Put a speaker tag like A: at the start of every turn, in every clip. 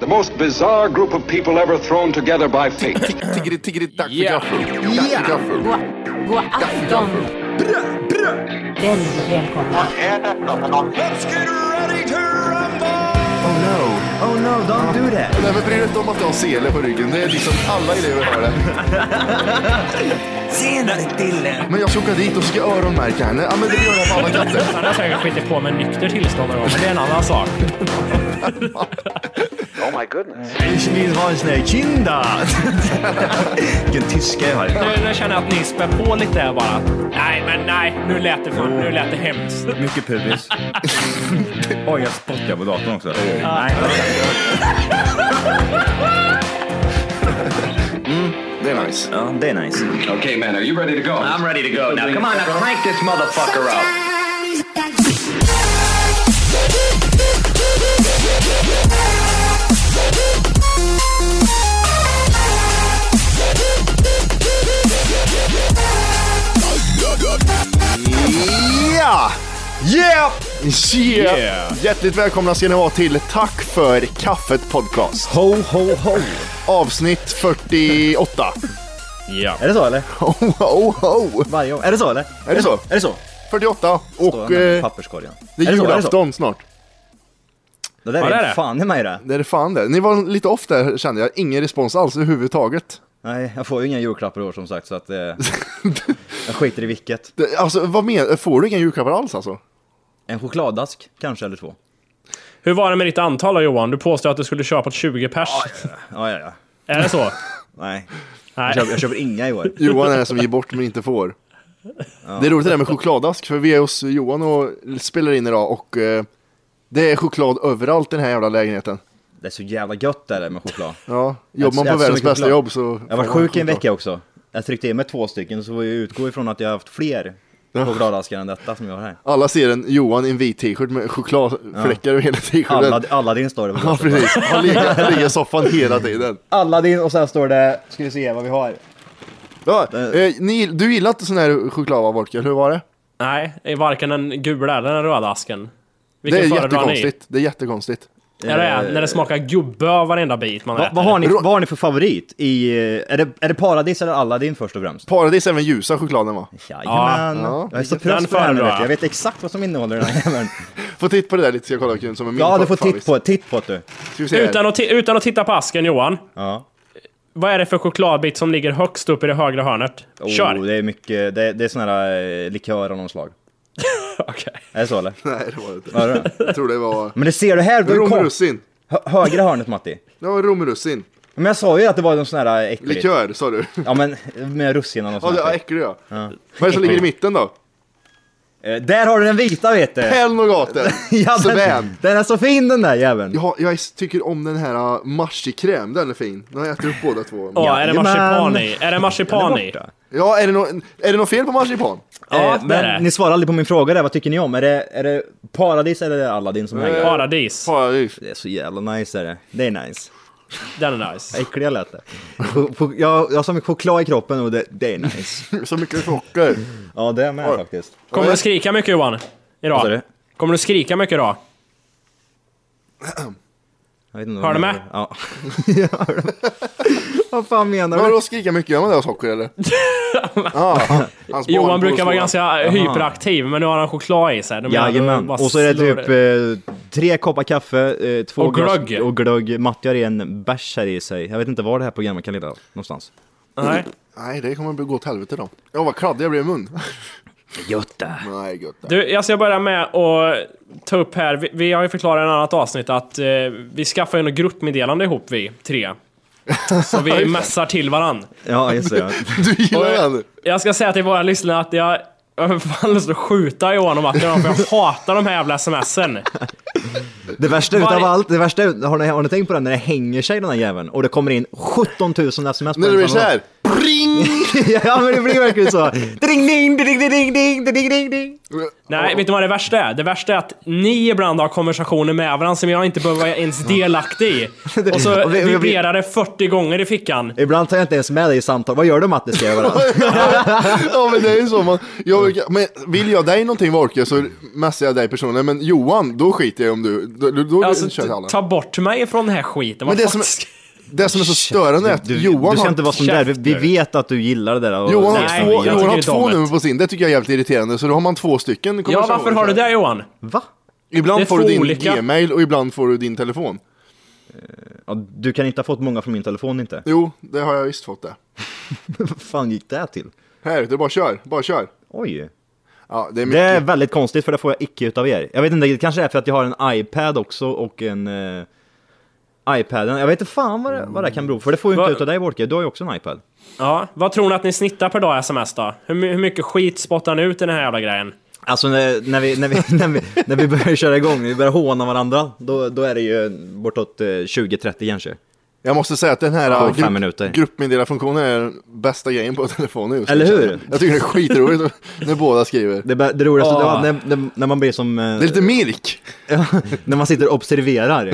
A: The most bizarre group of people ever thrown together by fate.
B: Tiggeri, tiggeri, dack för
C: Yeah.
B: gaffel. Dack för gaffel.
D: God, god afton! Väldigt välkomna.
E: Oh no, oh no, don't do that.
B: Nej, men bry dig inte om att jag har sele på ryggen. Det är liksom alla elever har det.
E: Senare Dille!
B: Men jag ska åka dit och ska öronmärka henne. Ja, men det gör jag på alla katter.
C: Han har säkert skitit på med nykter tillstånd någon gång, men det är en annan sak.
E: Ich will ha en sån här kinda. Vilken tyska jag har.
C: Nu, nu känner jag att ni spär på lite här bara. Nej, men nej. Nu lät det, fan, nu lät det hemskt.
F: Mycket pubis. Oj, jag spottar på datorn också. Nej,
B: Det är nice.
F: ja, det är nice.
A: okay, man, are you ready to go?
F: I'm ready to go now. Come on, now crank this motherfucker up.
B: Ja! Yeah! Yeah!
C: Yeah.
B: Hjärtligt välkomna ska ni vara till Tack för kaffet podcast.
F: Ho, ho, ho.
B: Avsnitt 48.
C: Ja.
F: Är det så eller?
B: Ho, ho, ho!
F: Varje gång. Är det så eller?
B: Är det så?
F: Är det så?
B: 48
F: Står
B: oh. och
F: han där i
B: eh,
F: papperskorgen.
B: det är
F: så? så?
B: julafton snart.
F: Det där
C: Ja, det är
F: är
C: det.
F: fan i mig det.
B: Det är det fan det. Ni var lite off där kände jag. Ingen respons alls överhuvudtaget.
F: Nej, jag får ju inga julklappar i år som sagt så att eh, jag skiter i vilket.
B: Det, alltså vad menar Får du inga julklappar alls alltså?
F: En chokladdask kanske eller två.
C: Hur var det med ditt antal då Johan? Du påstod att du skulle köpa 20 pers.
F: Ja, ja, ja.
C: Är det så? Nej.
F: Nej, jag köper, jag köper inga i år.
B: Johan är den som ger bort men inte får. Det är roligt det där med chokladask, för vi är hos Johan och spelar in idag och eh, det är choklad överallt i den här jävla lägenheten.
F: Det är så jävla gött det där med choklad.
B: Ja, jobbar man
F: Jag
B: på
F: har
B: världens
F: så mycket
B: bästa
F: choklad.
B: jobb så...
F: Jag var sjuk i en vecka också. Jag tryckte in med två stycken så får jag utgå ifrån att jag har haft fler chokladaskar än detta som jag har här.
B: Alla ser en Johan i en vit t-shirt med chokladfläckar över hela t-shirten.
F: Alla, Aladdin står det på
B: Ja,
F: bröstet.
B: precis. Han ligger, han ligger i soffan hela tiden.
F: Aladdin och sen står det, ska vi se vad vi har.
B: Ja, eh, ni, du gillar inte sån här choklad va, Volker? Hur var det?
C: Nej, det är varken den gula eller den röda asken.
B: Det är
C: Vilken föredrar ni?
B: jättekonstigt. Det är jättekonstigt.
C: Är det när det smakar gubbe av varenda bit man
F: Va,
C: äter?
F: vad, har ni, vad har ni för favorit? I, eh, är, det, är det Paradis eller Aladdin först och främst?
B: Paradis är även ljusa chokladen va?
F: Jajamän!
B: Ja.
F: Jag är så
C: Den
F: trött på det här nu,
C: föredrar
F: vet
C: jag.
F: du. jag vet exakt vad som innehåller den här jäveln.
B: Få titt på det där lite så jag kollar kul som är min
F: Ja, du får
B: favvis.
F: titt på det, titt på det du.
B: Ska vi se här.
C: Utan att, ti- utan att titta på asken Johan.
F: Ja.
C: Vad är det för chokladbit som ligger högst upp i det högra hörnet? Kör!
F: Oh, det är mycket, det, det är sån här eh, likör av någon slag.
C: Okej.
F: Är det så eller?
B: Nej, det var det inte.
F: Vad är det?
B: Jag tror det var...
F: Men det ser du här, du kom.
B: Romrussin.
F: Hö- högra hörnet Matti.
B: Det var romrussin.
F: Men jag sa ju att det var någon sån här eh, äcklig...
B: Likör sa du.
F: Ja men med russin och något
B: Ja,
F: sånt
B: det var
F: där.
B: äcklig ja. Vad är det som ligger i mitten då?
F: Eh, Där har du den vita vet du!
B: Helnogaten!
F: Ja,
B: Sven!
F: den, den är så fin den där jäveln!
B: Jag, jag tycker om den här äh, marsikräm, den är fin. Nu har jag ätit upp båda två.
C: Åh, är det
F: Jajamän.
C: marsipan i? Är det marsipan i?
F: borta.
B: Ja, är det, nå- är det något fel på marsipan?
C: Ja,
F: Eh,
C: det är
F: men
C: det.
F: ni svarar aldrig på min fråga där, vad tycker ni om? Är det, är det Paradis eller är det Aladdin
B: Eh.
F: som hänger?
C: Paradis.
B: Paradis.
F: Det är så jävla nice är det. Det är nice.
C: Den är nice.
F: Äckliga lät det. Cho- cho- Jag, jag har så mycket choklad i kroppen och det, det är nice.
B: Så mycket socker.
F: Ja det är med faktiskt.
C: Kommer du skrika mycket Johan?
F: sa
C: Idag?
F: du?
C: Kommer du skrika mycket idag?
F: Jag vet inte
C: Hör
F: vad
C: du
F: jag
C: med?
F: menar. Ja. Jag hör det. vad fan menar
B: Men
F: du?
B: då skrika mycket, gör man det av socker eller? ah, hans barn
C: Johan
B: borde
C: brukar vara
B: slå.
C: ganska hyperaktiv, men nu har han choklad i sig. De menar,
F: Jajamän,
C: de bara
F: och så är det
C: slår
F: typ eh, tre koppar kaffe, eh, två
C: Och
F: glas-
C: glögg.
F: och glögg. Matti har en bärs här i sig. Jag vet inte var det här programmet kan leda någonstans. eh,
C: Nej.
B: Nej, det kommer gå åt helvete då. Ja, vad kladdig jag blev i mun.
F: Gött det!
B: Nej, gött. det.
C: Du, jag ska börja med att ta upp här, vi, vi har ju förklarat i ett annat avsnitt att eh, vi skaffar ju något gruppmeddelande ihop vi tre. Så vi messar till varann.
F: Ja just det, ja.
B: Du gillar
C: Och
B: den?
C: Jag ska säga till våra lyssnare att jag jag har fan lust att skjuta Johan och Martin idag, för jag hatar de här jävla sms'en.
F: Det värsta
C: Varje-
F: utav allt, det värsta, ut- har ni, har ni tänkt på det? När det hänger sig den här jäveln och det kommer in 17 000 sms på
B: När
F: en
B: det blir
F: samma
B: så här.
F: dag.
B: Pring!
F: ja men det blir verkligen så. Ding ding ding ding ding ding ding ding.
C: Nej, vet du vad det värsta är? Det värsta är att ni ibland har konversationer med varandra som jag inte behöver vara ens delaktig i. Och så
F: Och vi- vi blir-
C: vibrerar det 40 gånger i fickan.
F: Ibland tar jag inte ens med dig i samtal. Vad gör du Matte? Ska jag göra?
B: ja men det är ju så. Man, jag, men vill jag dig någonting Volke så messar jag dig personligen. Men Johan, då skiter jag i om du... Då, då, då
C: Alltså,
B: kör alla.
C: ta bort mig från den här skiten.
B: Men
C: Vad
B: det
C: fan
B: som-
C: ska-
B: Det som är så störande är att
F: Du,
B: Johan
F: du ska
B: har...
F: inte vara som där. Vi, vi vet att du gillar det där. och-
B: Johan har
C: Nej,
B: två, Johan
C: jag tycker det
B: har
C: är
B: två
C: dåligt.
B: nummer på sin, det tycker jag är jävligt irriterande. Så då har man två stycken
C: Ja,
B: konversationer.
C: varför har du det Johan?
F: Va?
C: Det är
B: Ibland får du
C: två
B: din
C: olika.
B: gmail och ibland får du din telefon.
F: Ja, du kan inte ha fått många från min telefon inte.
B: Jo, det har jag visst fått det.
F: Vad fan gick det till?
B: Här, du bara kör, bara kör.
F: Oj.
B: Ja, det är
F: Det
B: mycket.
F: är väldigt konstigt för det får jag icke utav er. Jag vet inte, det kanske är för att jag har en iPad också och en eh, iPaden. Jag vet inte fan vad det, vad det kan bero på, för det får ju
C: Va-
F: inte utav dig Wolke. Du har ju också en iPad.
C: Ja, vad tror ni att ni snittar per dag i sms då? Hur, my- hur mycket skit spottar ni ut i den här jävla grejen?
F: Alltså när, när, vi, när, vi, när, vi, när vi börjar köra igång, när vi börjar håna varandra, då, då är det ju bortåt eh, 20-30 kanske.
B: Jag måste säga att den här
F: Ja,
B: ja,
F: fem minuter.
B: grupp, gruppmeddelarfunktionen är den bästa grejen på telefonen just nu.
F: Eller hur?
B: Jag tycker det är skitroligt när båda skriver.
F: Det, bä- det roligaste
C: Ah.
F: det var när, när, när man blir som... eh,
B: Det är lite mirk.
F: när man sitter och observerar.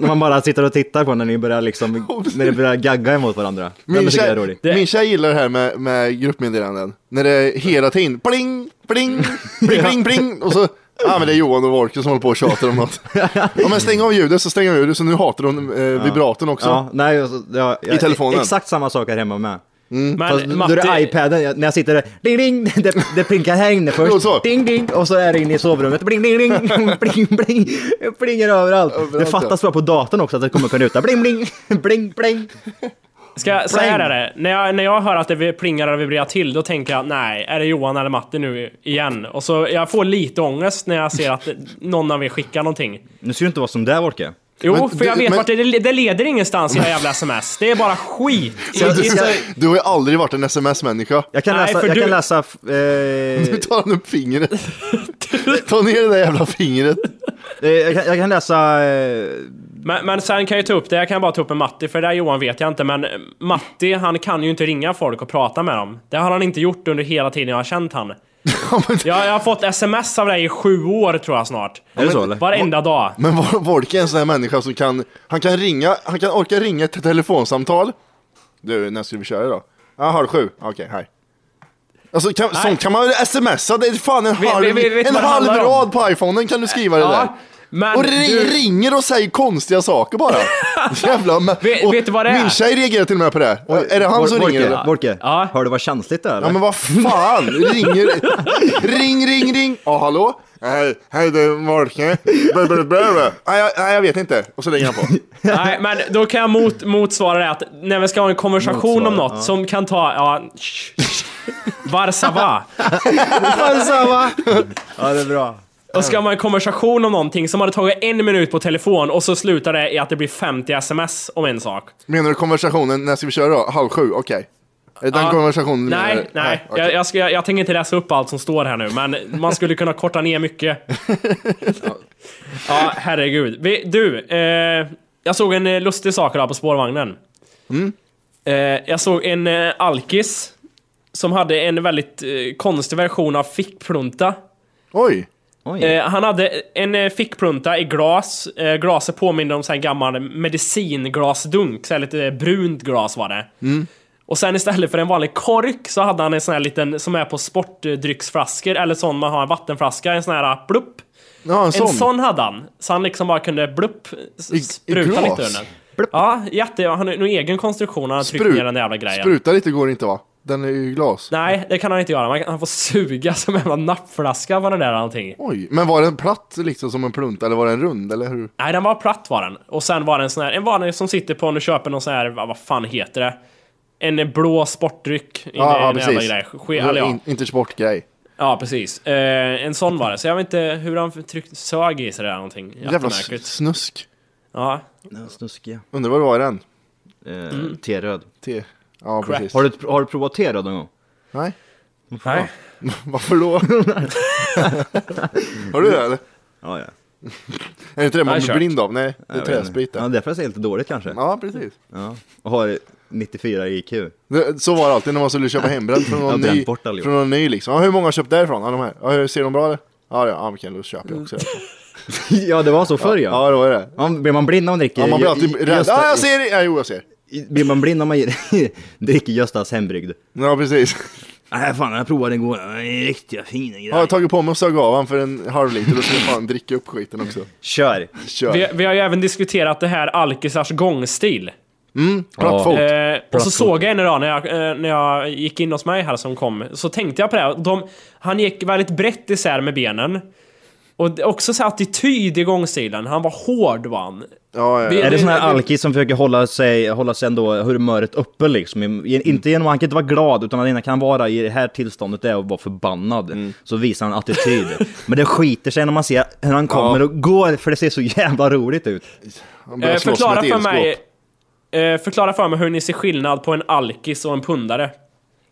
F: när man bara sitter och tittar på när ni börjar liksom, när ni börjar gagga emot varandra.
B: Min
F: det tycker jag är
B: tjej,
F: roligt.
B: min tjej gillar det här med, med gruppmeddelanden. När det är hela tiden pling, pling, pling, pling, pling. Och så, ja ah, men det är Johan och Volker som håller på och tjatar om något. Ja men stäng av ljudet så stänger jag av ljudet så nu hatar hon eh, vibratorn också.
F: Ja, nej, alltså, ja, jag,
B: I telefonen.
F: Exakt samma sak här hemma med.
C: Men
F: Fast då är det iPaden, jag, när jag sitter där, ding ding, det, det plinkar här inne
B: Jo,
F: först,
B: så.
F: ding ding, och så är det inne i sovrummet, bling ding ding, bling bling, det plingar överallt. det
B: Överallt,
F: fattas bara på datorn också att det kommer upp en ruta, bling bling, bling bling.
C: Ska jag säga det? här? När jag, när jag hör att det plingar och vibrerar till, då tänker jag nej, är det Johan eller Matti nu igen? Och så jag får lite ångest när jag ser att någon av er skickar någonting.
F: Nu ska du inte vara som där Wolke.
C: Jo,
B: Men
C: för
B: det-
C: jag vet
B: men-
C: vart det, det leder ingenstans i era jävla sms. Det är bara skit.
B: Du,
C: I- i-
B: du har ju aldrig varit en sms-människa.
F: Jag kan
C: Nej,
F: läsa,
C: för
F: jag
C: du-
F: kan läsa, f- eh,
B: Nu tar han upp fingret. Ta ner det där jävla fingret.
F: eh, jag, kan, jag kan läsa, eh,
C: Men, men sen kan jag ta upp det, jag kan bara ta upp med Matti, för det där Johan vet jag inte, men eh, Matti han kan ju inte ringa folk och prata med dem. Det har han inte gjort under hela tiden jag har känt han. jag, jag har fått sms av dig i sju år tror jag snart.
F: är det så eller?
C: Varenda dag.
B: Men Vol- Volke är en sån här människa som kan, han kan ringa, han kan orka ringa ett telefonsamtal. Du, när ska vi köra idag? Ja, halv sju. Okej, hej. Alltså, kan, sånt kan man väl smsa? Det är fan en
C: Vi-
B: halv,
C: vi- vi vet
B: en
C: vad det
B: halv
C: handlar om.
B: rad på iPhonen kan du skriva det
C: Ja,
B: där.
C: men
B: och ri-
C: du-
B: ringer och säger konstiga saker bara. Jävla, men,
C: Vet-
B: och
C: vet du vad det är?
B: Min tjej reagerar till och med på det. är det han som
F: Wolke,
B: ringer? eller?
F: Wolke,
C: Ja.
F: hör du vad känsligt det är
B: Ja
F: eller?
B: men vad fan, ringer... ring, ring, ring! Ja, hallå? Hej, hej det är Volke. Bla, bla, bla, bla. Nej, jag- nej, jag vet inte. Och så lägger han på.
C: Nej, men då kan jag mot, motsvara det att när vi ska ha en konversation om något som kan ta, ja... Varsava.
F: Alltså, va? Ja det är bra.
C: Och ska man ha en konversation om någonting som hade tagit en minut på telefon och så slutar det i att det blir 50 sms om en sak.
B: Menar du konversationen, när ska vi köra då? Halv sju, okej. Är det Den
C: Ja.
B: konversationen du
C: Nej,
B: menar?
C: nej.
B: okej.
C: Jag, jag, ska, jag, jag tänker inte läsa upp allt som står här nu, men man skulle kunna korta ner mycket. ja, herregud. Vi, du, eh, jag såg en eh, lustig sak idag på spårvagnen. Eh, jag såg en eh, alkis som hade en väldigt eh, konstig version av fickplunta.
B: Oj!
F: Oj.
C: Eh, han hade en eh, fickplunta i glas. Eh, glaset påminner om sån här gammal medicinglasdunk, så här lite eh, brunt glas var det.
B: Mm.
C: Och sen istället för en vanlig kork så hade han en sån här liten som är på sportdrycksflaskor eller sån man har en vattenflaska, en sån här plupp.
B: Ja, en
C: En
B: sån.
C: sån hade han, så han liksom bara kunde blupp s-
B: I- i
C: spruta
B: glas?
C: lite ur den. Ja, jätte, han har en egen konstruktion, han har tryckt
B: Sprut-
C: ner den där jävla grejen.
B: Spruta lite går inte va? Den är ju i glas.
C: Nej, det kan han inte göra. Man kan, han får suga som en jävla nappflaska vad den där någonting.
B: Oj, men var den platt liksom som en plunta eller var den rund eller hur?
C: Nej, den var platt var den. Och sen var det en sån här, en vanlig som sitter på, nu köper någon sån här, vad vad fan heter det? En blå sportdryck. in i
B: Ja, ja
C: en jävla
B: precis.
C: grej. Ske, eller, ja.
B: In, inte sportgrej.
C: ja, precis. Eh, en sån var det. Så jag vet inte hur han tryckte, sög i sig det där någonting.
B: Jävla
C: Jättemärkligt.
B: s- snusk.
C: Ja.
F: Snuskiga.
B: Undrar vad det var i den?
F: Eh, T-röd.
B: Te. Ja,
C: Crap.
B: precis.
F: Har du, har du provat T-röd någon gång?
B: Nej,
C: Nej.
B: varför då? har du det eller?
F: Ja, ja.
B: Är det inte det man
C: Nej,
B: blir
C: kört.
B: blind av? Nej, det är
F: Jag vet inte.
B: träsprit
F: Ja,
B: det.
F: därför jag säger lite dåligt kanske.
B: Ja, precis.
F: Ja. Och har 94 i IQ.
B: Det- Så var det alltid när man skulle köpa hembränt från någon
F: Jag har
B: ny.
F: bränt bort allihop.
B: Från någon ny liksom. Ja, hur många har köpt därifrån? Ja, de här. Ja, ser de bra eller? Ja, ja, ja, men kan du köpa också.
F: ja, det var så förr ja.
B: Ja, det var det.
F: Ja, blir man blind om man dricker...
B: Ja, man blir alltid
F: Gösta-
B: rädd. Ja, jag ser! det. Ja, jo, jag ser.
F: Blir man blind om man dricker Göstas hembryggd?
B: Ja, precis.
F: Nej fan, jag provade igår. Det är riktiga fina
B: Har jag tagit på mig och sög av han för en halv liter och skulle fan dricka upp skiten också.
F: Kör!
B: Kör.
C: Vi, vi har ju även diskuterat det här alkisars gångstil.
B: Plattfot.
C: Eh, och så såg jag en idag när jag, eh, när jag gick in hos mig här som kom, så tänkte jag på det. här. De, han gick väldigt brett isär med benen. Och det- också så här attityd i gångstilen. Han var hård var han.
B: Ja, ja, ja.
F: Är det sån här
C: det-
F: alkis som försöker hålla sig, hålla sig ändå humöret uppe liksom? I- Inte genom, han kan inte vara glad, utan han kan vara i det här tillståndet där och vara förbannad.
B: Mm.
F: Så visar han attityd. Men det skiter sig när man ser hur han kommer och går, för det ser så jävla roligt ut.
B: Han
C: Eh,
B: börjar slåss
C: förklara,
B: med ett
C: för
B: elskåp.
C: mig, eh, förklara för mig hur ni ser skillnad på en alkis och en pundare.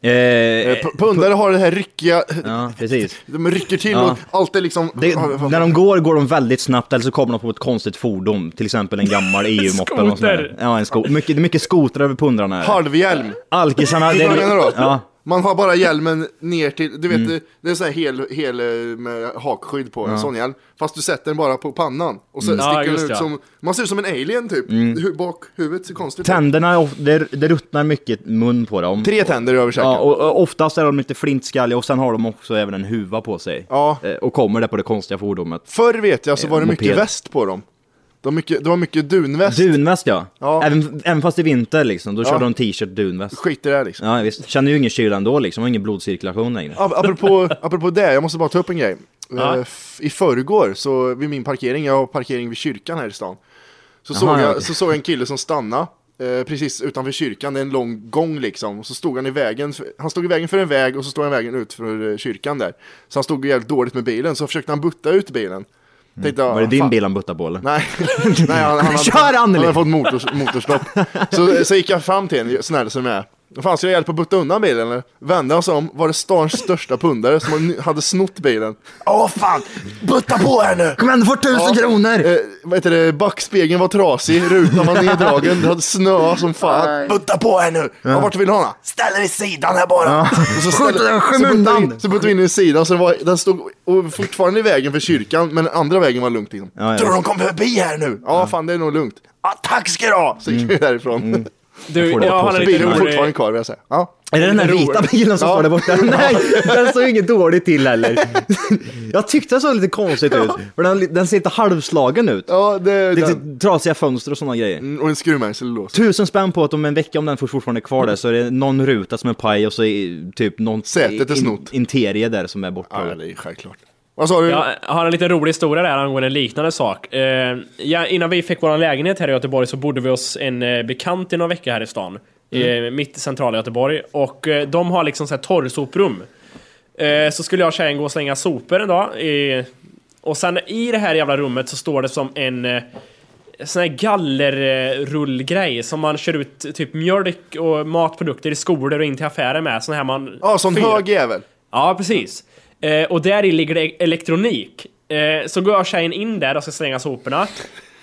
F: Eh,
B: Eh, p- Pundare har det här ryckiga,
F: ja, precis.
B: de rycker till
F: Ja.
B: och allt är liksom...
F: Det,
B: Ja, fan.
F: när de går, går de väldigt snabbt eller så kommer de på ett konstigt fordon. Till exempel en gammal EU-moppe eller något sånt där.
C: Skoter.
F: Ja, en sko- mycket, det är mycket skotrar över pundrarna här.
B: Halvhjälm.
F: Alkisarna, det
B: Vad menar du?
F: är... Ja. Mm.
B: Man har bara hjälmen ner till, du vet det, det är sån här hel, hel eh, med hakskydd på en sån hjälm. Fast du sätter den bara på pannan och
F: Mm.
B: så
C: Ja,
B: sticker
C: just
B: den ut
C: det.
B: som, man ser ut som en alien typ. Hu- Bak huvudet ser konstigt ut.
F: Tänderna, är of- det, det ruttnar mycket mun på dem.
B: Tre tänder över käken.
F: Ja, och, och oftast är de lite flintskalliga och sen har de också även en huva på sig.
B: Ja.
F: Eh, Och kommer det på det konstiga fordonet.
B: Förr vet jag så var det
F: Eh,
B: mycket
F: moped.
B: väst på dem. Det var mycket, det var mycket dunväst.
F: Dunväst ja.
B: Ja.
F: Även, även fast det är vinter liksom, då
B: Ja.
F: körde de t-shirt dunväst.
B: Skit i det här liksom.
F: Ja visst, känner ju ingen kyla ändå liksom, och ingen blodcirkulation längre.
B: Ap- Apropå, apropå det, jag måste bara ta upp en grej.
C: Ja.
B: Eh, f- I förrgår, så vid min parkering, jag har parkering vid kyrkan här i stan. Så, såg,
F: ja,
B: jag,
F: okej.
B: så såg jag en kille som stannade eh, precis utanför kyrkan, det är en lång gång liksom. Och så stod han i vägen, för, han stod i vägen för en väg och så stod han i vägen ut för eh, kyrkan där. Så han stod jävligt dåligt med bilen, så försökte han butta ut bilen. Tänkte,
F: Mm. Var det din bil han buttade på eller?
B: Nej, Nej han, han, hade,
F: Kör,
B: han
F: Anneli!
B: hade fått motors, motorstopp. Så, så gick jag fram till en snäll som jag är. Fan, ska jag hjälpa att butta undan bilen eller? Vände han sig om, var det stans största pundare som hade- hade snott bilen. Åh fan, butta på här nu!
F: Kom igen, du får tusen kronor!
B: Eh, vad heter det, backspegeln var trasig, rutan var neddragen, det hade snöat som fan. Butta på här nu! Ja. vart vill du ha den? Ställ dig i sidan här bara! Och så ställ-
F: Skjut den, skymm
B: så puttade
F: undan!
B: vi in- Så puttade vi in i sidan, så det var, den stod och fortfarande i vägen för kyrkan, men den andra vägen var lugnt liksom.
F: Ja, ja.
B: Tror du de kom förbi här nu? Ja, Mm. fan det är nog lugnt. Ja, tack ska du ha! Så gick vi därifrån.
C: Du, jag,
F: får det på
C: har en
F: sig.
B: Bilen var
C: liten
B: fortfarande
C: rolig...
B: kvar vill jag säga. Ja.
F: Är det den där
B: Eh, Roligt.
F: vita bilen som
B: Ja.
F: står där borta? Nej, den såg inget dåligt till heller. Jag tyckte den såg lite konstigt ut, för den, den ser inte halvslagen ut.
B: Ja, det,
F: Lite
B: den.
F: trasiga fönster och sådana grejer.
B: Mm, Och en skruvmejsel då.
F: Tusen spänn på att om en vecka, om den fortfarande är kvar där, så är det någon ruta som är paj och så är typ någon
B: Sätet är snott.
F: interie där som är borta.
B: Ja, det är självklart. Vad sa du?
C: Jag har en liten rolig historia där angående en liknande sak. Eh, ja, innan vi fick vår lägenhet här i Göteborg så bodde vi hos en eh, bekant i någon vecka här i stan. Eh,
B: Mm.
C: mitt i centrala Göteborg. Och eh, de har liksom så här torrsoprum. Eh, så skulle jag och tjejen gå och slänga sopor en dag. Eh, och sen i det här jävla rummet så står det som en eh, sån här gallerrullgrej som man kör ut typ mjölk och matprodukter i skolor och in till affärer med. Sån här man...
B: Ja, sån
C: fyra-
B: hög jävel.
C: Ja, precis. Eh, och där i ligger det elektronik. Eh, så går tjejen in där och ska slänga soporna.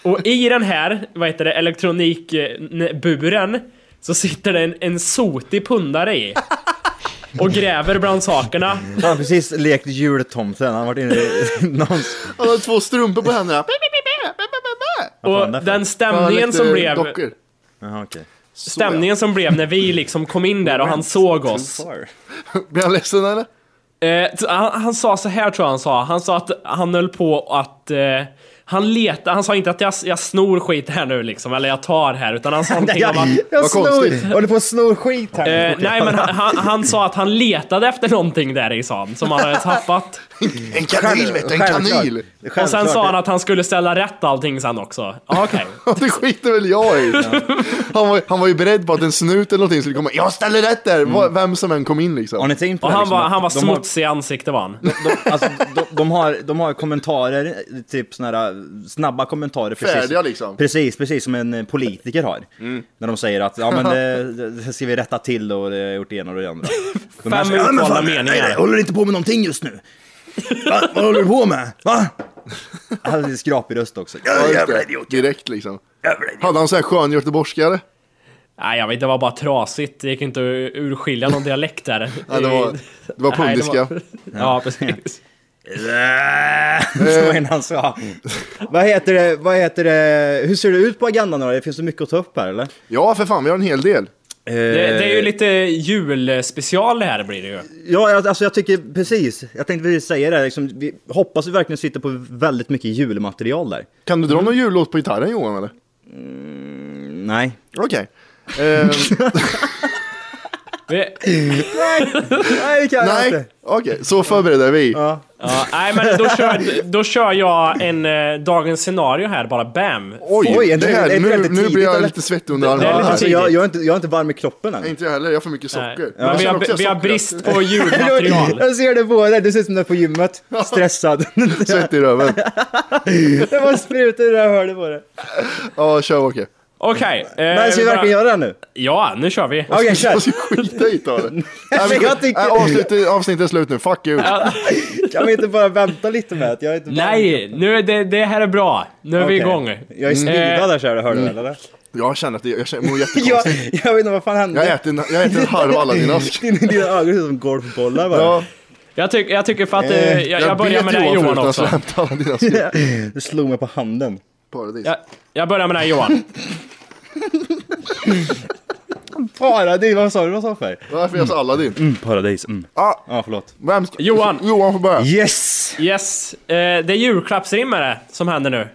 C: Och i den här, vad heter det, elektronikburen så sitter det en, en sotig pundare i. Och gräver bland sakerna.
F: Han har precis lekt jultomten, han har varit inne i någons...
B: Han hade två strumpor på händerna.
F: fan,
C: Och
F: därför.
C: den
B: Han hade
C: stämningen
B: lite
C: som blev...
B: dockor.
F: Jaha okej.
C: Stämningen som blev när vi liksom kom in där och han såg oss.
B: Blir han ledsen eller?
C: Eh, t- han, han sa så här tror jag han sa. Han sa att han höll på att... Eh, han letade, han sa inte att jag, jag snor skit här nu liksom, eller jag tar här, utan han sa någonting om att...
F: Jag
B: Vad konstigt.
F: snor, håller på att snor skit här.
C: Eh, nej men han, han, han sa att han letade efter någonting där i stan, som han hade tappat.
B: En kanil vet du, en kanil!
C: Och sen sa han att han skulle ställa rätt allting sen också. Ja, Okej.
B: Ja, det skiter väl jag i. Han var, han var ju beredd på att en snut eller någonting skulle komma. Jag ställer rätt där! vad- Vem som än kom in liksom.
F: Har ni tänkt på
C: Och
F: det här,
C: han
F: liksom,
C: var,
F: att
C: han var
F: de har-
C: smutsig i ansiktet var han.
F: De, alltså, de, de, har, de har kommentarer, typ såna här snabba kommentarer. Precis,
B: Färdiga, liksom. Mm.
F: Precis, precis som en eh, politiker har. När de säger att ja men det, det ska vi rätta till och det har jag gjort det ena och det andra. De här
C: Fem
F: säger, "Ja, men
C: utvalda
F: fan,
C: meningar."
F: nej, nej, Jag håller inte på med någonting just nu. Va? Vad håller du på med? Va? Han hade skrapig röst också.
B: Ja,
F: Ja,
B: just
F: jävla
B: det.
F: idiot.
B: Direkt liksom.
F: jävla idiot.
B: Hade han så här skön göteborgska eller?
C: Nej, jag vet, det var bara trasigt. Det gick inte att urskilja någon dialekt där.
B: Nej, det var- det var
C: Nej, det var-
B: pundiska.
C: Ja, precis.
F: Det var en han sa. Vad heter det, vad heter det, hur ser det ut på agendan då? Det finns så mycket att ta upp här eller?
B: Ja, för fan, vi har en hel del.
C: Det, det är
B: Eh.
C: ju lite julspecial det här blir det ju.
F: Ja, jag- alltså jag tycker precis. Jag tänkte precis säga det. Liksom, vi hoppas vi verkligen sitter på väldigt mycket julmaterial där.
B: Kan du dra någon jullåt på gitarren Johan eller?
F: Nej.
B: Okej. Ehm,
C: Vi,
F: Nej, nej det kan jag
B: nej,
F: inte.
B: okej, så förbereder vi.
C: ja, nej, men då kör, då kör jag en eh, dagens scenario här bara, bam.
B: Oj,
F: Oj, är
B: det
F: det- är
B: här,
F: det
B: nu,
F: väldigt
B: nu blir
F: tidigt,
B: jag
F: eller?
B: lite svettig under
C: det är
B: armarna.
C: lite
F: Alltså, jag, jag, är inte, jag är inte varm i kroppen än.
B: Nej, Inte jag heller, jag har för mycket
C: Nej,
B: socker.
C: Men vi,
B: Jag känner också
C: har,
B: att
C: vi har
B: sockret-
C: brist på
F: Jag,
C: julmaterial.
F: jag ser det på dig, du ser ut som du är på gymmet. Stressad.
B: Svett i röven.
F: det var sprutor i det här hörde på det.
B: Ja, kör Åke.
C: Okej. eh,
F: Men ska vi
C: bara-
F: verkligen göra det nu?
C: Ja, nu kör vi.
F: Okej, kör.
B: Jag ska Alltså, skita i det. Nej, men-
F: jag tycker-
B: Nej, avsnitt- Avsnittet är slut nu, fuck you.
F: Kan vi inte bara vänta lite med att jag är inte varm?
C: Nej, nu är det, det här är bra. Nu är vi
F: Okej.
C: igång.
F: Jag
C: Eh,
F: är svivad här kör du, hör du
B: Mm.
F: väl eller?
B: Jag känner att det- jag känner- mår
F: Jag,
B: jättekonstigt.
F: jag vet inte vad fan hände.
B: Jag äter en- jag äter en halv Aladdin-ask.
F: Din- Dina ögon ser ut som golfbollar bara.
B: Ja,
C: Jag, tyck, jag tycker för att... eh, jag, jag, börjar
B: bet
C: med dig Johan
B: förut
C: också.
B: att hämta Aladdin-asken.
F: Du slog mig på handen.
B: Paradis.
C: Jag, jag börjar med dig Johan.
F: Paradis, vad sa du? Vad sa du för?
B: Varför görs Aladdin?
F: Mm, Paradis, mm.
B: Ah,
F: Ja, förlåt.
B: vem ska...
C: Johan.
B: Johan får börja.
F: Yes!
C: Yes, eh, det är julklappsrim är det som händer nu.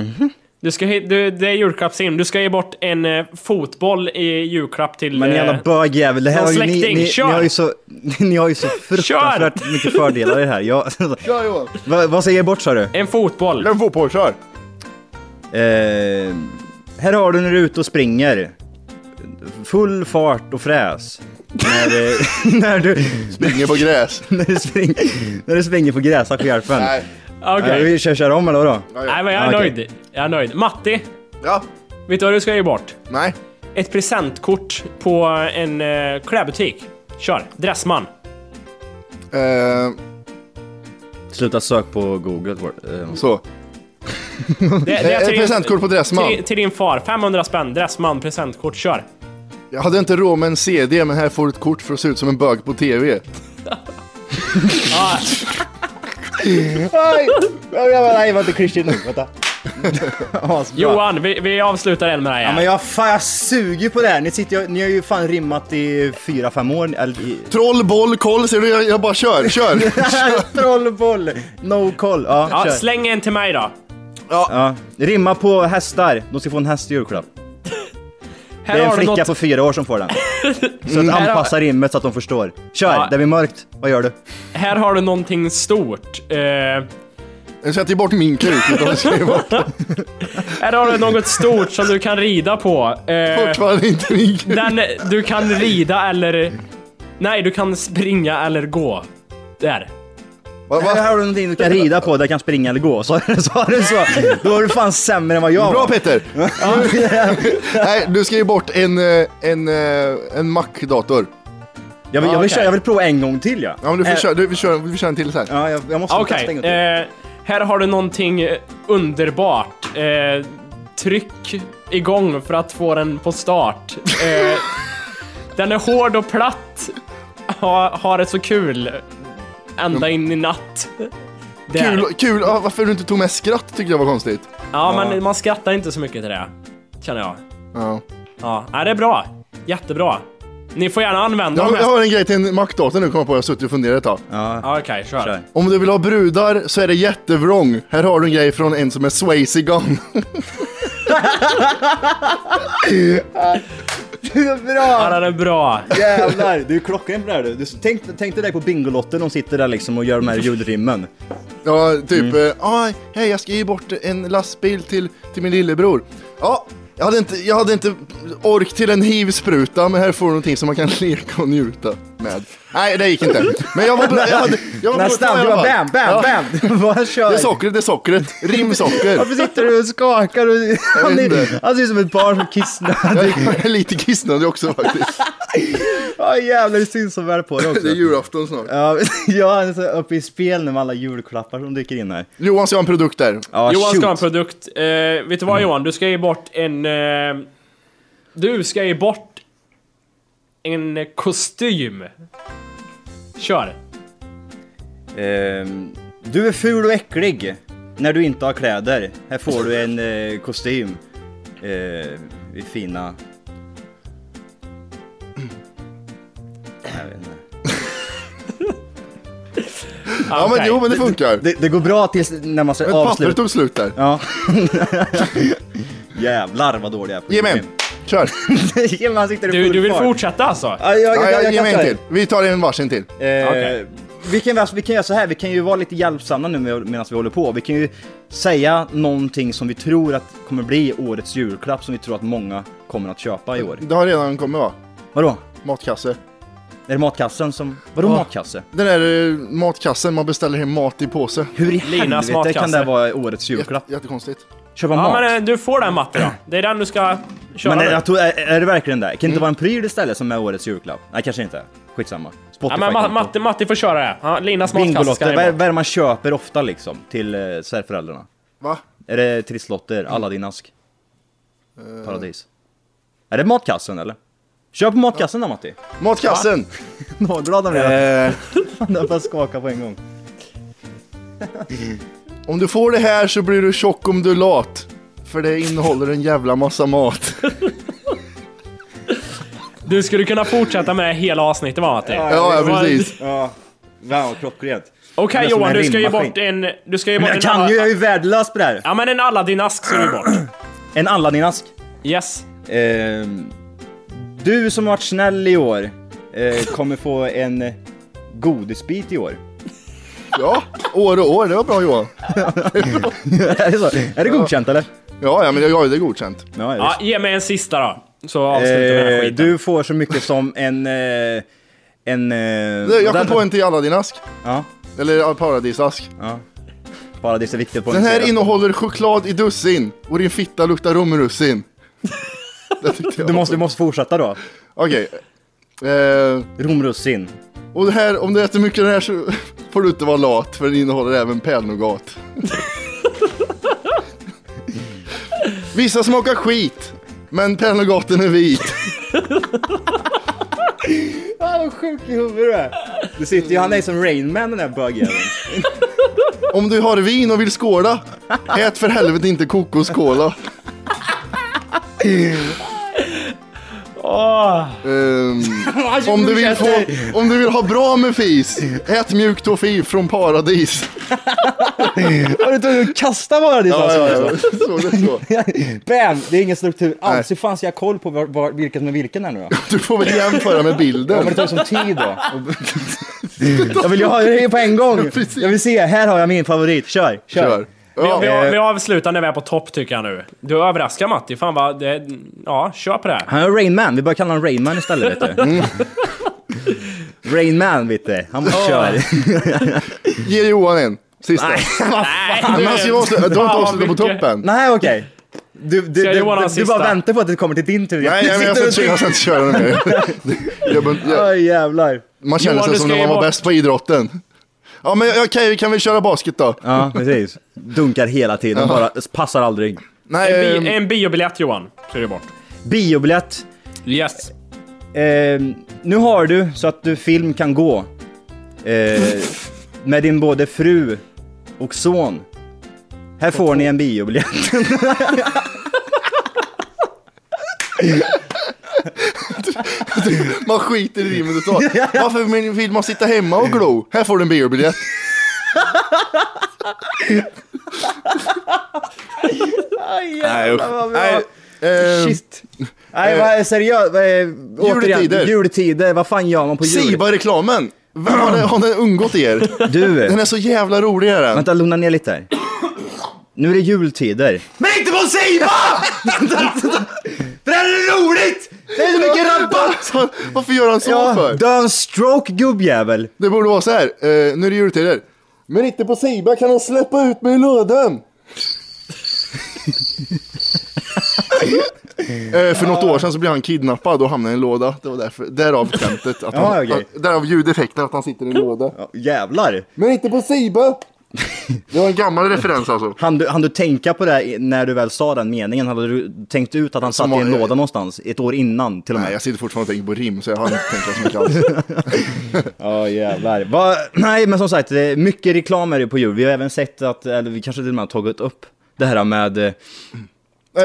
F: Mhm.
C: Du ska, hit- du, det är julklappsrim. Du ska ge bort en eh, fotboll i julklapp till...
F: Men jävla
C: eh,
F: bögjävel, det här
C: någon
F: har ju, ni,
C: släkting,
F: ni, ni
C: kör!
F: har ju så, ni har ju så fruktansvärt mycket fördelar i det här. Jag,
B: Kör Johan.
F: vad, vad säger jag bort sa du?
C: en fotboll.
B: Den får på, kör.
F: Eh, här har du när du är ute och springer. Full fart och fräs. När, eh, när, du,
B: Springer på gräs.
F: när, du springer, när du springer på gräsak på hjälpen.
B: Nej.
C: Okej.
F: Eh, vi kör, kör om eller vadå?
C: Nej men jag är
F: Okej.
C: nöjd. Jag är nöjd. Matti,
B: Ja.
C: vet du vad du ska ge bort?
B: Nej.
C: Ett presentkort på en eh, klädbutik. Kör. Dressman.
B: Eh,
F: Sluta sök på google. Eh,
B: så.
C: Det, det
B: Eh, Ett presentkort på Dressman.
C: Till, till din far. 500 spänn. Dressman presentkort. Kör.
B: Jag hade inte råd med en CD, men här får du ett kort för att se ut som en bög på TV.
F: Oj! Jag, jag, nej, var inte klyschig nog. Vänta. Asbra.
C: Johan, vi, vi avslutar den med det här.
F: Ja, men jag, fan, jag suger på det här. Ni, sitter, ni har ju fan rimmat i fyra fem år. Eller, i,
B: Troll, boll, koll, ser du? Jag, jag bara kör, kör.
F: trollboll! No call. Ja,
C: ja,
F: kör.
C: släng en till mig då.
F: ja. Rimma på hästar. De ska få en häst i julklapp.
C: Här
F: Det är en
C: har du
F: flicka
C: något...
F: på fyra år som får den. Så att anpassa rimmet så att de förstår. Kör!
C: Ja.
F: Det blir mörkt. Vad gör du?
C: Här har du någonting stort. Eh,
B: Jag sätter bort min kuk utan att säga vad.
C: här har du något stort som du kan rida på. Eh,
B: Fortfarande inte min kuk.
C: den, du kan rida eller... Nej, du kan springa eller gå. Där.
B: Va,
F: Här
B: va?
F: har du någonting du kan rida på där du kan springa eller gå. Så sa du så. Då är du fan sämre än vad jag
B: Bra
F: var.
B: Petter! Nej, du ska ge bort en, eh, en, eh, en Mac-dator.
F: Jag vill, jag
C: Okej.
F: vill, köra, jag vill prova en gång till ja.
B: Ja men du får
F: Eh,
B: köra, du, vi, kör, vi kör en till så här.
F: Ja, jag, jag måste
C: Okej.
F: testa en gång till.
C: eh, här har du någonting eh, underbart. Eh, tryck igång för att få den på start. Eh, den är hård och platt. Ha, ha det så kul. Ända in i natt. Där.
B: Kul, kul. Ja, varför du inte tog med skratt tyckte jag var konstigt.
C: Ja, men man skrattar inte så mycket till det. Känner jag.
B: Ja.
C: Ja, nej, det är bra. Jättebra. Ni får gärna använda
B: Jag,
C: dem.
B: har- jag
C: här.
B: har en grej till en Mac-dator nu kom jag på, jag har suttit och funderat ett tag.
C: Ja, Okej, kör.
F: Kör.
B: Om du vill ha brudar så är det jättevrång. Här har du en grej från en som är Swayze Gun.
C: Ja,
F: Bra!
C: den är bra.
F: Jävlar, du är klockren på det här du. du tänk, tänk dig där på Bingolotten, de sitter där liksom och gör de här julrimmen.
B: Ja, typ.
F: Mm.
B: eh, Ah, hej, jag ska ge bort en lastbil till, till min lillebror. Ja, jag hade inte, jag hade inte ork till en hivspruta, men här får du någonting som man kan leka och njuta med. Nej, det gick inte. Men jag var bra. Jag hade, jag var bra
F: Nästan,
B: jag
F: du bara
B: var.
F: bam, bam, bam! Vad kör?
B: Det är sockret, det är sockret. Rimsocker.
F: Varför sitter du och skakar? Och... Han,
B: inte.
F: är, han ser ut som ett barn som kissnödig.
B: Jag är lite kissnödig också faktiskt.
F: Ja jävlar, det syns så väl på dig också.
B: Det är julafton snart.
F: Ja, jag är så uppe i spel nu med alla julklappar som dyker in här.
B: Johan, så jag har en produkt där.
F: Ja,
C: Johan ska ha en
F: Ah, shoot. Mm.
C: produkt. Eh, vet du vad Johan? Du ska ge bort en... Eh, Du ska ge bort en kostym. Kör.
F: Ehm, du är ful och äcklig när du inte har kläder. Här får du en eh, kostym. Ehm, vi fina... Jag vet inte.
B: Ja, men jo, men det funkar.
F: Det, det går bra tills när man
B: Men
F: ska
B: pappret
F: avsluta.
B: tog slut där.
F: Ja. Jävlar vad dålig jag är på
B: Ge mig en. Kör.
F: Ge mig, han sitter i
C: Du,
F: full
C: du vill
F: fart.
C: fortsätta alltså?
F: Ja, jag, jag,
B: Ja,
F: jag,
B: ja,
F: jag,
B: ge mig en
F: kastar.
B: till. Vi tar en varsin till.
F: Eh,
C: Okej.
F: vi, kan, alltså, vi kan göra så här, vi kan ju vara lite hjälpsamma nu med- medan vi håller på. Vi kan ju säga någonting som vi tror att kommer bli årets julklapp som vi tror att många kommer att köpa i år.
B: Det har redan kommit va?
F: Vadå?
B: Matkasse.
F: Är det matkassen som... Vadå matkasse?
B: Den där eh, matkassen man beställer hem mat i påse.
F: Hur i
C: Linas
F: helvete
C: matkasse.
F: kan det vara årets
B: Jätte,
F: julklapp?
B: jättekonstigt.
F: Köpa
C: Ja
F: mat?
C: men eh, du får den Matte då. Det är den du ska köra
F: Men är,
C: nu.
F: jag tror, är, är det verkligen det? Kan
C: Mm.
F: det inte vara en pryl istället som är årets julklapp? Nej kanske inte. Skitsamma.
C: Ja,
F: Spotify
C: men Ma-
F: konto.
C: Matte, Matte får köra det. Ja, Linas matkasse ska
F: Bingolotter, vad
C: det
F: är- vad är det man köper ofta liksom till eh, så här föräldrarna?
B: Va?
F: Är det trisslotter,
C: Mm.
F: Aladdin-ask? Paradis. Är det matkassen eller? Köp matkassen då Matti!
B: Matkassen!
F: Nå, glad han blev.
B: Eh,
F: Han började skaka på en gång.
B: om du får det här så blir du tjock om du är lat. För det innehåller en jävla massa mat.
C: Du skulle kunna fortsätta med det hela avsnittet va Matti?
B: Ja, ja precis.
F: Ja. Wow, klockrent.
C: Okej
F: Det är som
C: Johan,
F: en
C: du ska ge
F: rimmaskin.
C: bort en... Du ska ge bort
F: Men jag
C: en alla-
F: kan ju, jag är ju värdelös på det här.
C: Ja men en Aladdin-ask ska du ge bort.
F: En Aladdin-ask.
C: Yes.
F: Ehm, du som har varit snäll i år eh, kommer få en godisbit i år.
B: Ja, år och år. Det var bra Johan.
F: är det så? Är det godkänt eller?
B: Ja, ja men jag har ju det godkänt.
F: Ja,
C: Ja,
F: visst.
C: ge mig en sista då. Så avslutar vi den här
F: Eh,
C: skiten.
F: du får så mycket som en... Eh, en... Eh,
B: Du, Jag
F: den-
B: kom på en till alla din ask.
F: Ja,
B: Eller ja, paradisask.
F: paradis är viktigt på
B: Den här innehåller choklad i dussin och din fitta luktar romrussin. Det tyckte jag.
F: Du måste, du måste fortsätta då.
B: Okej. Eh,
F: Romrussin.
B: och det här, om du äter mycket av det här så får du inte vara lat för den innehåller även pärlnougat. Vissa smakar skit, men pärlnougaten är vit.
F: Ah, vad sjuk i huvudet du är. Du sitter ju, han är som Rain Man den här bögjäveln.
B: Om du har vin och vill skåla, ät för helvete inte kokoskola.
C: Åh.
B: Ehm, om, du vill få, om du vill ha bra med fis, ät mjukt och fi från paradis.
F: Har du tagit och kastat paradis
B: Ja,
F: alltså?
B: ja, ja. Så, det är så.
F: Bam! Det är ingen struktur alls. Hur fan ska jag ha koll på var, var, vilken som är vilken här nu då?
B: Du får väl jämföra med
F: Ja, men
B: bilden.
F: det tar ju som tid då. jag vill ju ha det på en gång.
B: precis.
F: Jag vill se, här har jag min favorit. Kör, kör.
B: Kör.
C: Vi,
B: Ja,
F: Eh.
C: vi, vi avslutar när vi är på topp tycker jag nu. Du överraskar Matti, fan vad... Det, ja, kör på det här.
F: Han är Rain Man, vi börjar kalla honom Rain Man istället vet du. Rain Man vet du, han bara kör.
B: ge Johan en. Sista.
F: Nej, vad
C: Nej,
B: Men alltså, jag måste, du har inte
C: Fan, vad
B: avslutat på
C: mycket.
B: toppen.
F: Nej okej. Du, du, du,
C: jag Johan ha
F: du,
C: en
F: du
C: sista?
F: bara väntar på att det kommer till din tur.
B: Nej, jag, men jag, ska inte, jag ska inte köra den mer. Jag, men- jag,
F: Oj jävlar.
B: man känner
C: Johan,
B: sig
C: du
B: som
C: ska
B: när man var
C: ge bort-
B: bäst på idrotten. Ja, men jag- okej, kan vi köra basket då?
F: Ja precis. Dunkar hela tiden, bara passar aldrig.
B: Nej,
C: En, bi,
F: Eh.
B: ehm,
C: en biobiljett Johan, ska du ge bort.
F: Biobiljett.
C: Yes.
F: Ehm, nu har du så att du film kan gå. Ehm, med din både fru och son. Här får ni en biobiljett.
B: man skiter i rimmet och tar. Varför men vill man sitta hemma och glo? Här får du en biobiljett. Nej, usch. Nej, ehm,
F: Shit. Nej, vad är seriöst? Vad är,
B: Juletider.
F: återigen, juletider. Vad fan gör man på jul?
B: Siba-reklamen! Vad Har den, har den undgått er?
F: Du,
B: Den är så jävla rolig är den.
F: vänta lugna ner lite här. Nu är det jultider. Men inte på Siba! det här är roligt! Det är så mycket rabatt!
B: Varför gör han så
F: Ja,
B: för?
F: du har en stroke gubbjävel.
B: Det borde vara så här. eh, nu är det jultider. Men inte på Siba kan de släppa ut mig i lådan. Eh, för något år sedan så blev han kidnappad och hamnade i en låda. Det var därför, därav skämtet. Att han,
F: Ja, okej.
B: att, därav ljudeffekten att han sitter i en låda.
F: Ja, jävlar.
B: Men inte på Siba! Det var en gammal referens alltså.
F: Han du, han du tänka på det här i- när du väl sa den meningen? Hade du tänkt ut att han satt
B: Som
F: i en
B: var-
F: låda någonstans? Ett år innan till och
B: Nej,
F: med?
B: jag sitter fortfarande och tänker på rim, så jag har inte tänkt så mycket alls.
F: Ja jävlar. Va, nej men som sagt, det är mycket reklam är det på jul. Vi har även sett att, eller vi kanske till och med har tagit upp det här med eh,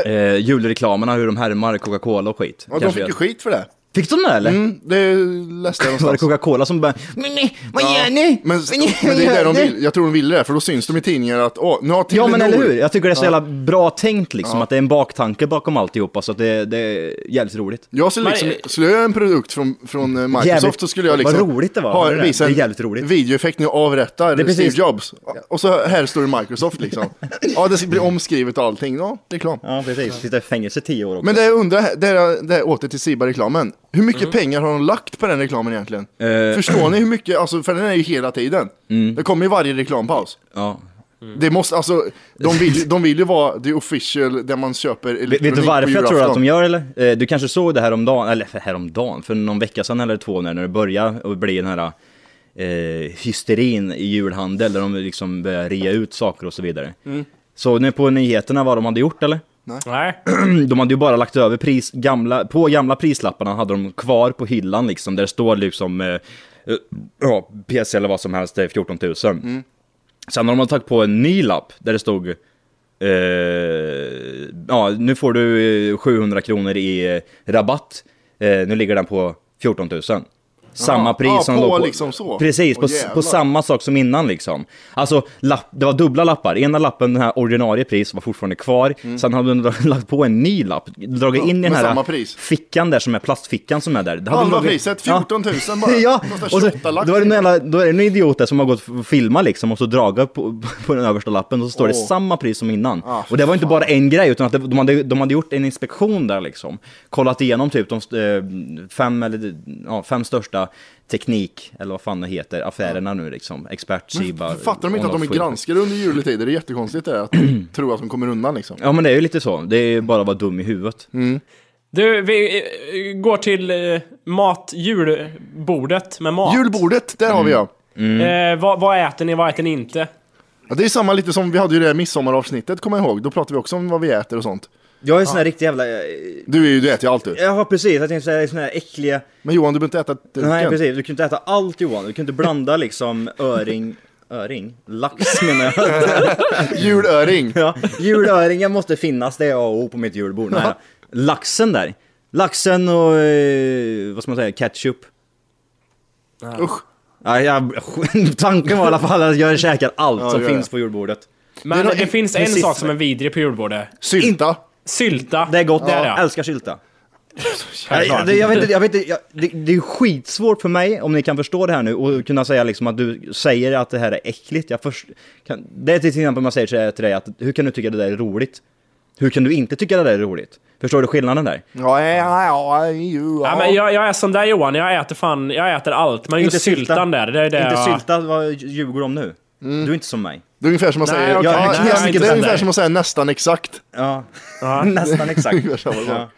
F: eh, julreklamerna, hur de härmar Coca-Cola och skit.
B: Ja, de
F: Kanske
B: fick ju
F: jag-
B: skit för det.
F: fick de det eller?
B: Mm, det läste jag
F: Var det
B: någonstans.
F: Coca-Cola som bara Men nej, vad gör ni?
B: Men,
F: Vad ni-
B: men det är där de
F: vad gör ni?"
B: vill, jag tror de ville det, för då syns de i tidningar att åh, nu har
F: Ja
B: Telenor...
F: men eller hur? Jag tycker det är så jävla bra tänkt liksom, att det är en baktanke bakom alltihopa så att det, det är jävligt roligt.
B: Jag skulle, liksom,
C: Men-
B: skulle jag göra en produkt från, från eh, Microsoft
F: Jävligt-
B: så skulle jag
F: vad
B: liksom
F: roligt det var,
B: ha,
F: hörde du det?
B: visa
F: Det är
B: en
F: jävligt roligt.
B: videoeffekt när jag avrättar
F: Det är precis-
B: Steve Jobs. Och så här står det Microsoft liksom. ja, det blir omskrivet och allting. Ja, reklam.
F: Ja precis, sitta i fängelse i tio år också.
B: Men det jag undrar, det är, det är åter till Siba-reklamen. Hur mycket pengar har de lagt på den reklamen egentligen?
F: Eh.
B: Förstår ni hur mycket, alltså, för den är ju hela tiden.
F: Mm.
B: Det kommer ju varje reklampaus.
F: ja.
B: Det måste, alltså, de vill, de vill ju vara the official där man köper
F: Vet,
B: elektronik
F: vet du varför
B: på
F: jag tror att
B: julafton.
F: de gör eller? Eh, Du kanske såg det här om dagen, eller för- häromdagen, för någon vecka sedan eller två när när det började och bli den här eh, hysterin i julhandel där de liksom börjar rea ut saker och så vidare. Såg ni på nyheterna vad de hade gjort eller?
C: Nej.
F: De hade ju bara lagt över pris, gamla, på gamla prislapparna hade de kvar på hyllan liksom, där det står liksom eh, eh, ja, PC eller vad som helst, det är 14 000.
B: Mm.
F: Sen har de tagit på en ny lapp där det stod eh, ja, nu får du eh, 700 kronor i eh, rabatt. Eh, nu ligger den på 14 000. Samma
B: Jaha.
F: pris
B: Ja,
F: som
B: på
F: låg
B: liksom så.
F: Precis,
B: Åh,
F: på, s- på
B: jävlar.
F: samma sak som innan liksom. Alltså, lapp, det var dubbla lappar. Ena lappen, den här ordinarie pris, var fortfarande kvar. Sen hade de dra- lagt på en ny lapp, dragit
B: Mm. Ja,
F: in i den
B: med
F: här
B: samma pris.
F: fickan där som är plastfickan som är där. Det hade
B: Halva
F: de dragit-
B: priset, 14 000 bara.
F: ja,
B: Kostar
F: och så,
B: 28 lax. typ.
F: då är det en jävla, då är det en idiot där som har gått och filmat liksom och så dragit på, på den översta lappen och så står det
B: Åh.
F: samma pris som innan.
B: Ah, för
F: och det var inte bara en grej utan att det, de, hade, de hade gjort en inspektion där liksom. Kollat igenom typ de eh, fem, eller, ja, fem största teknik, eller vad fan det heter, affärerna nu liksom. Expert, Siba.
B: Fattar de inte att de är
F: Onoff, skit.
B: granskade under juletider? Det är jättekonstigt det, att de tror att de kommer undan liksom.
F: Ja men det är ju lite så, det är ju bara att vara dum i huvudet.
C: Du, vi eh, går till eh, mat, julbordet med mat.
B: Julbordet, där har vi
F: Mm.
B: ja.
C: Eh, vad, vad äter ni, vad äter ni inte?
B: ja. Det är samma lite som vi hade ju det här midsommaravsnittet, kommer jag ihåg. Då pratade vi också om vad vi äter och sånt.
F: Jag är en sån här riktig jävla...
B: Du, är ju, du äter ju allt du.
F: Ja precis, jag tänkte säga sån här äckliga...
B: Men Johan, du behöver inte äta duken.
F: Nej precis, du kan inte äta allt Johan, du kan inte blanda liksom öring, öring? Lax menar jag.
B: Julöring.
F: Ja, julöringen måste finnas, det är A och O på mitt julbord. Nej, laxen där, laxen och eh, vad ska man säga, ketchup.
B: Usch.
F: Ja, jag, tanken var i alla fall att jag käkar allt
B: Ja,
F: som
B: gör det.
F: finns på julbordet.
C: Men
B: Det är
C: det,
B: nog en-
C: finns en
F: precis.
C: sak som är vidrig på julbordet.
B: Sylta.
C: Sylta.
F: Det är gott,
C: Det är
F: jag
C: det.
F: älskar sylta.
C: Självklart.
F: Jag, det, jag vet inte, jag vet inte jag, det, det är skitsvårt för mig om ni kan förstå det här nu och kunna säga liksom att du säger att det här är äckligt. Jag först, kan, det är till exempel om jag säger till- till dig att hur kan du tycka det där är roligt? Hur kan du inte tycka det där är roligt? Förstår du skillnaden där?
B: Ja, ja, ja, ju,
C: Ja, men jag, jag är som där Johan, jag äter fan, jag äter allt. Men just syltan där, det är det
F: Inte
C: jag...
F: sylta, vad ljuger du om nu? Du är inte som mig.
B: Det är ungefär som att
C: Nej,
B: säga,
C: okej.
B: ja, det
C: Nej,
B: är
C: jag är
B: nästan-
C: inte
B: det är
C: den
B: ungefär
C: där.
B: som att säga nästan exakt.
F: Ja, nästan exakt.
B: Ungefär samma sak.
F: ja.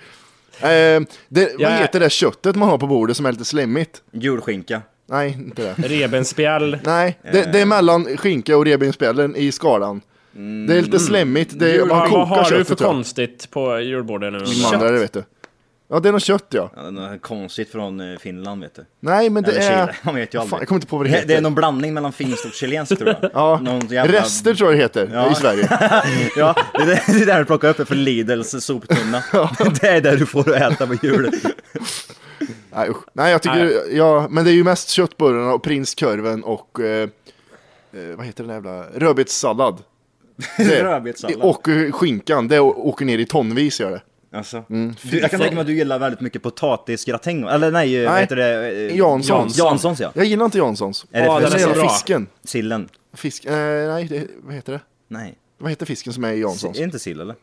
B: Eh, det,
C: Jag
B: vad
C: är-
B: heter det köttet man har på bordet som är lite slemmigt?
F: Julskinka.
B: Nej, inte det.
C: Rebenspjäll.
B: Nej, det,
F: Eh.
B: det är mellan skinka och revbensspjällen i skalan.
F: Mm.
B: Det är lite slemmigt, det är,
C: Jul,
B: man kokar
C: vad har du för
B: köttet. tror jag.
C: konstigt på julbordet nu?
B: Min mandrare, vet du. Ja, det är något kött ja.
F: Ja, det är Konstigt från eh, Finland vet du.
B: Nej, men det
F: Eller
B: är...
F: Chile, man vet ju aldrig.
B: Fan, jag kommer inte på vad det heter.
F: Det är någon blandning mellan finskt och chilenskt tror jag.
B: Ja,
F: Någon jävla-
B: rester tror jag det heter i Sverige.
F: Ja, det är det- det är där du plockar upp det för Lidls soptunna. Det är där du får att äta på jul.
B: Nej, usch. Nej, jag tycker... Ja, men det är ju mest köttbullarna och prinskorven och... Eh, eh, vad heter den där jävla... Rödbetssallad. Det-
F: Rödbetssallad.
B: Och eh, skinkan, det å- åker ner i tonvis gör det.
F: Alltså,
B: Mm.
F: du, jag kan tänka mig att du gillar väldigt mycket potatisgratäng, eller nej, vad
B: Nej,
F: heter det? Eh,
B: Janssons.
F: Janssons ja.
B: Jag gillar inte Janssons.
F: Är det
B: Ja,
F: för-
B: den
F: den är
B: jävla
C: så bra.
B: fisken.
F: Sillen.
B: Fisk... Eh, nej, det, vad heter det?
F: Nej.
B: Vad heter fisken som är i
F: Si-
B: Janssons?
F: Är det inte sill eller?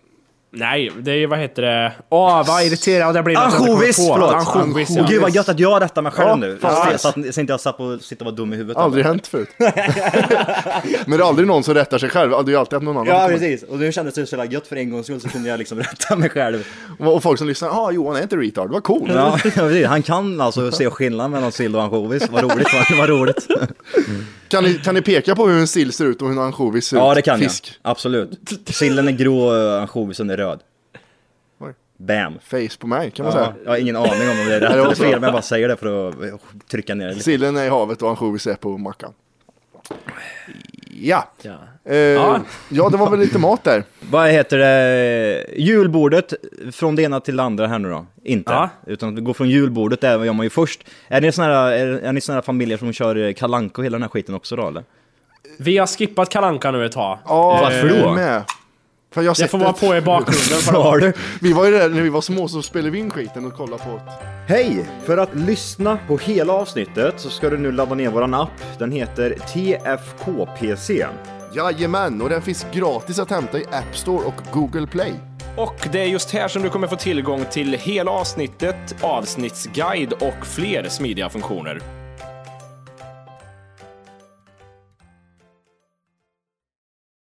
C: Nej, det är ju, vad heter det? Åh, vad irriterad jag blir. när
B: Ah,
C: jag inte kommer
F: Ansjovis!
C: på.
F: Förlåt!
C: Ansjovis,
F: Åh,
C: ja.
F: Gud vad gött att jag har detta med själv
B: Ja,
F: nu.
B: fan,
F: Så,
B: nice.
F: så, att, så inte jag satt på, sitter och var dum i huvudet.
B: Aldrig hänt förut. men det är aldrig någon som rättar sig själv. Det är ju alltid att någon annan
F: Ja
B: kommer.
F: precis, och nu kändes det så jävla gött för en gångs skull så kunde jag liksom rätta mig själv.
B: Och folk som lyssnar, ah Johan är inte retard, vad cool.
F: Ja, precis. han kan alltså se skillnad mellan sill och ansjovis. Vad roligt, vad, vad roligt.
B: Kan ni, kan ni peka på hur en sill ser ut och hur en ansjovis ser ut?
F: Ja det kan
B: Fisk.
F: jag, absolut. Sillen är grå och ansjovisen är röd.
B: Oj.
F: Bam.
B: Face på mig, kan man
F: Ja,
B: säga.
F: jag har ingen aning om om det är rätt
B: det var
F: eller
B: så.
F: fel, men jag bara säger det för att trycka ner det lite.
B: Sillen är i havet och ansjovis är på mackan. Ja.
C: Ja.
B: Eh,
C: Ja. Eh,
B: ja. det var väl lite mat där.
F: Vad heter det? Julbordet, från det ena till det andra här nu då? Inte?
C: Ja.
F: Utan att gå från julbordet, där gör man ju först. Är ni såna här, är, är ni såna här familjer som kör eh, kalanka och hela den här skiten också då eller?
C: Vi har skippat kalanka nu ett tag.
B: Ja,
F: Varför
B: jag är
F: då?
B: Med. För jag har
C: Det
B: sett
C: får vara
B: det.
C: på i bakgrunden. För
F: Har du?
B: Vi var ju där när vi var små så spelade vi in skiten och kollade på det.
E: Hej! För att lyssna på hela avsnittet så ska du nu ladda ner våran app. Den heter TFKPC.
B: Jajamän, och den finns gratis att hämta i App Store och Google Play.
G: Och det är just här som du kommer få tillgång till hela avsnittet, avsnittsguide och fler smidiga funktioner.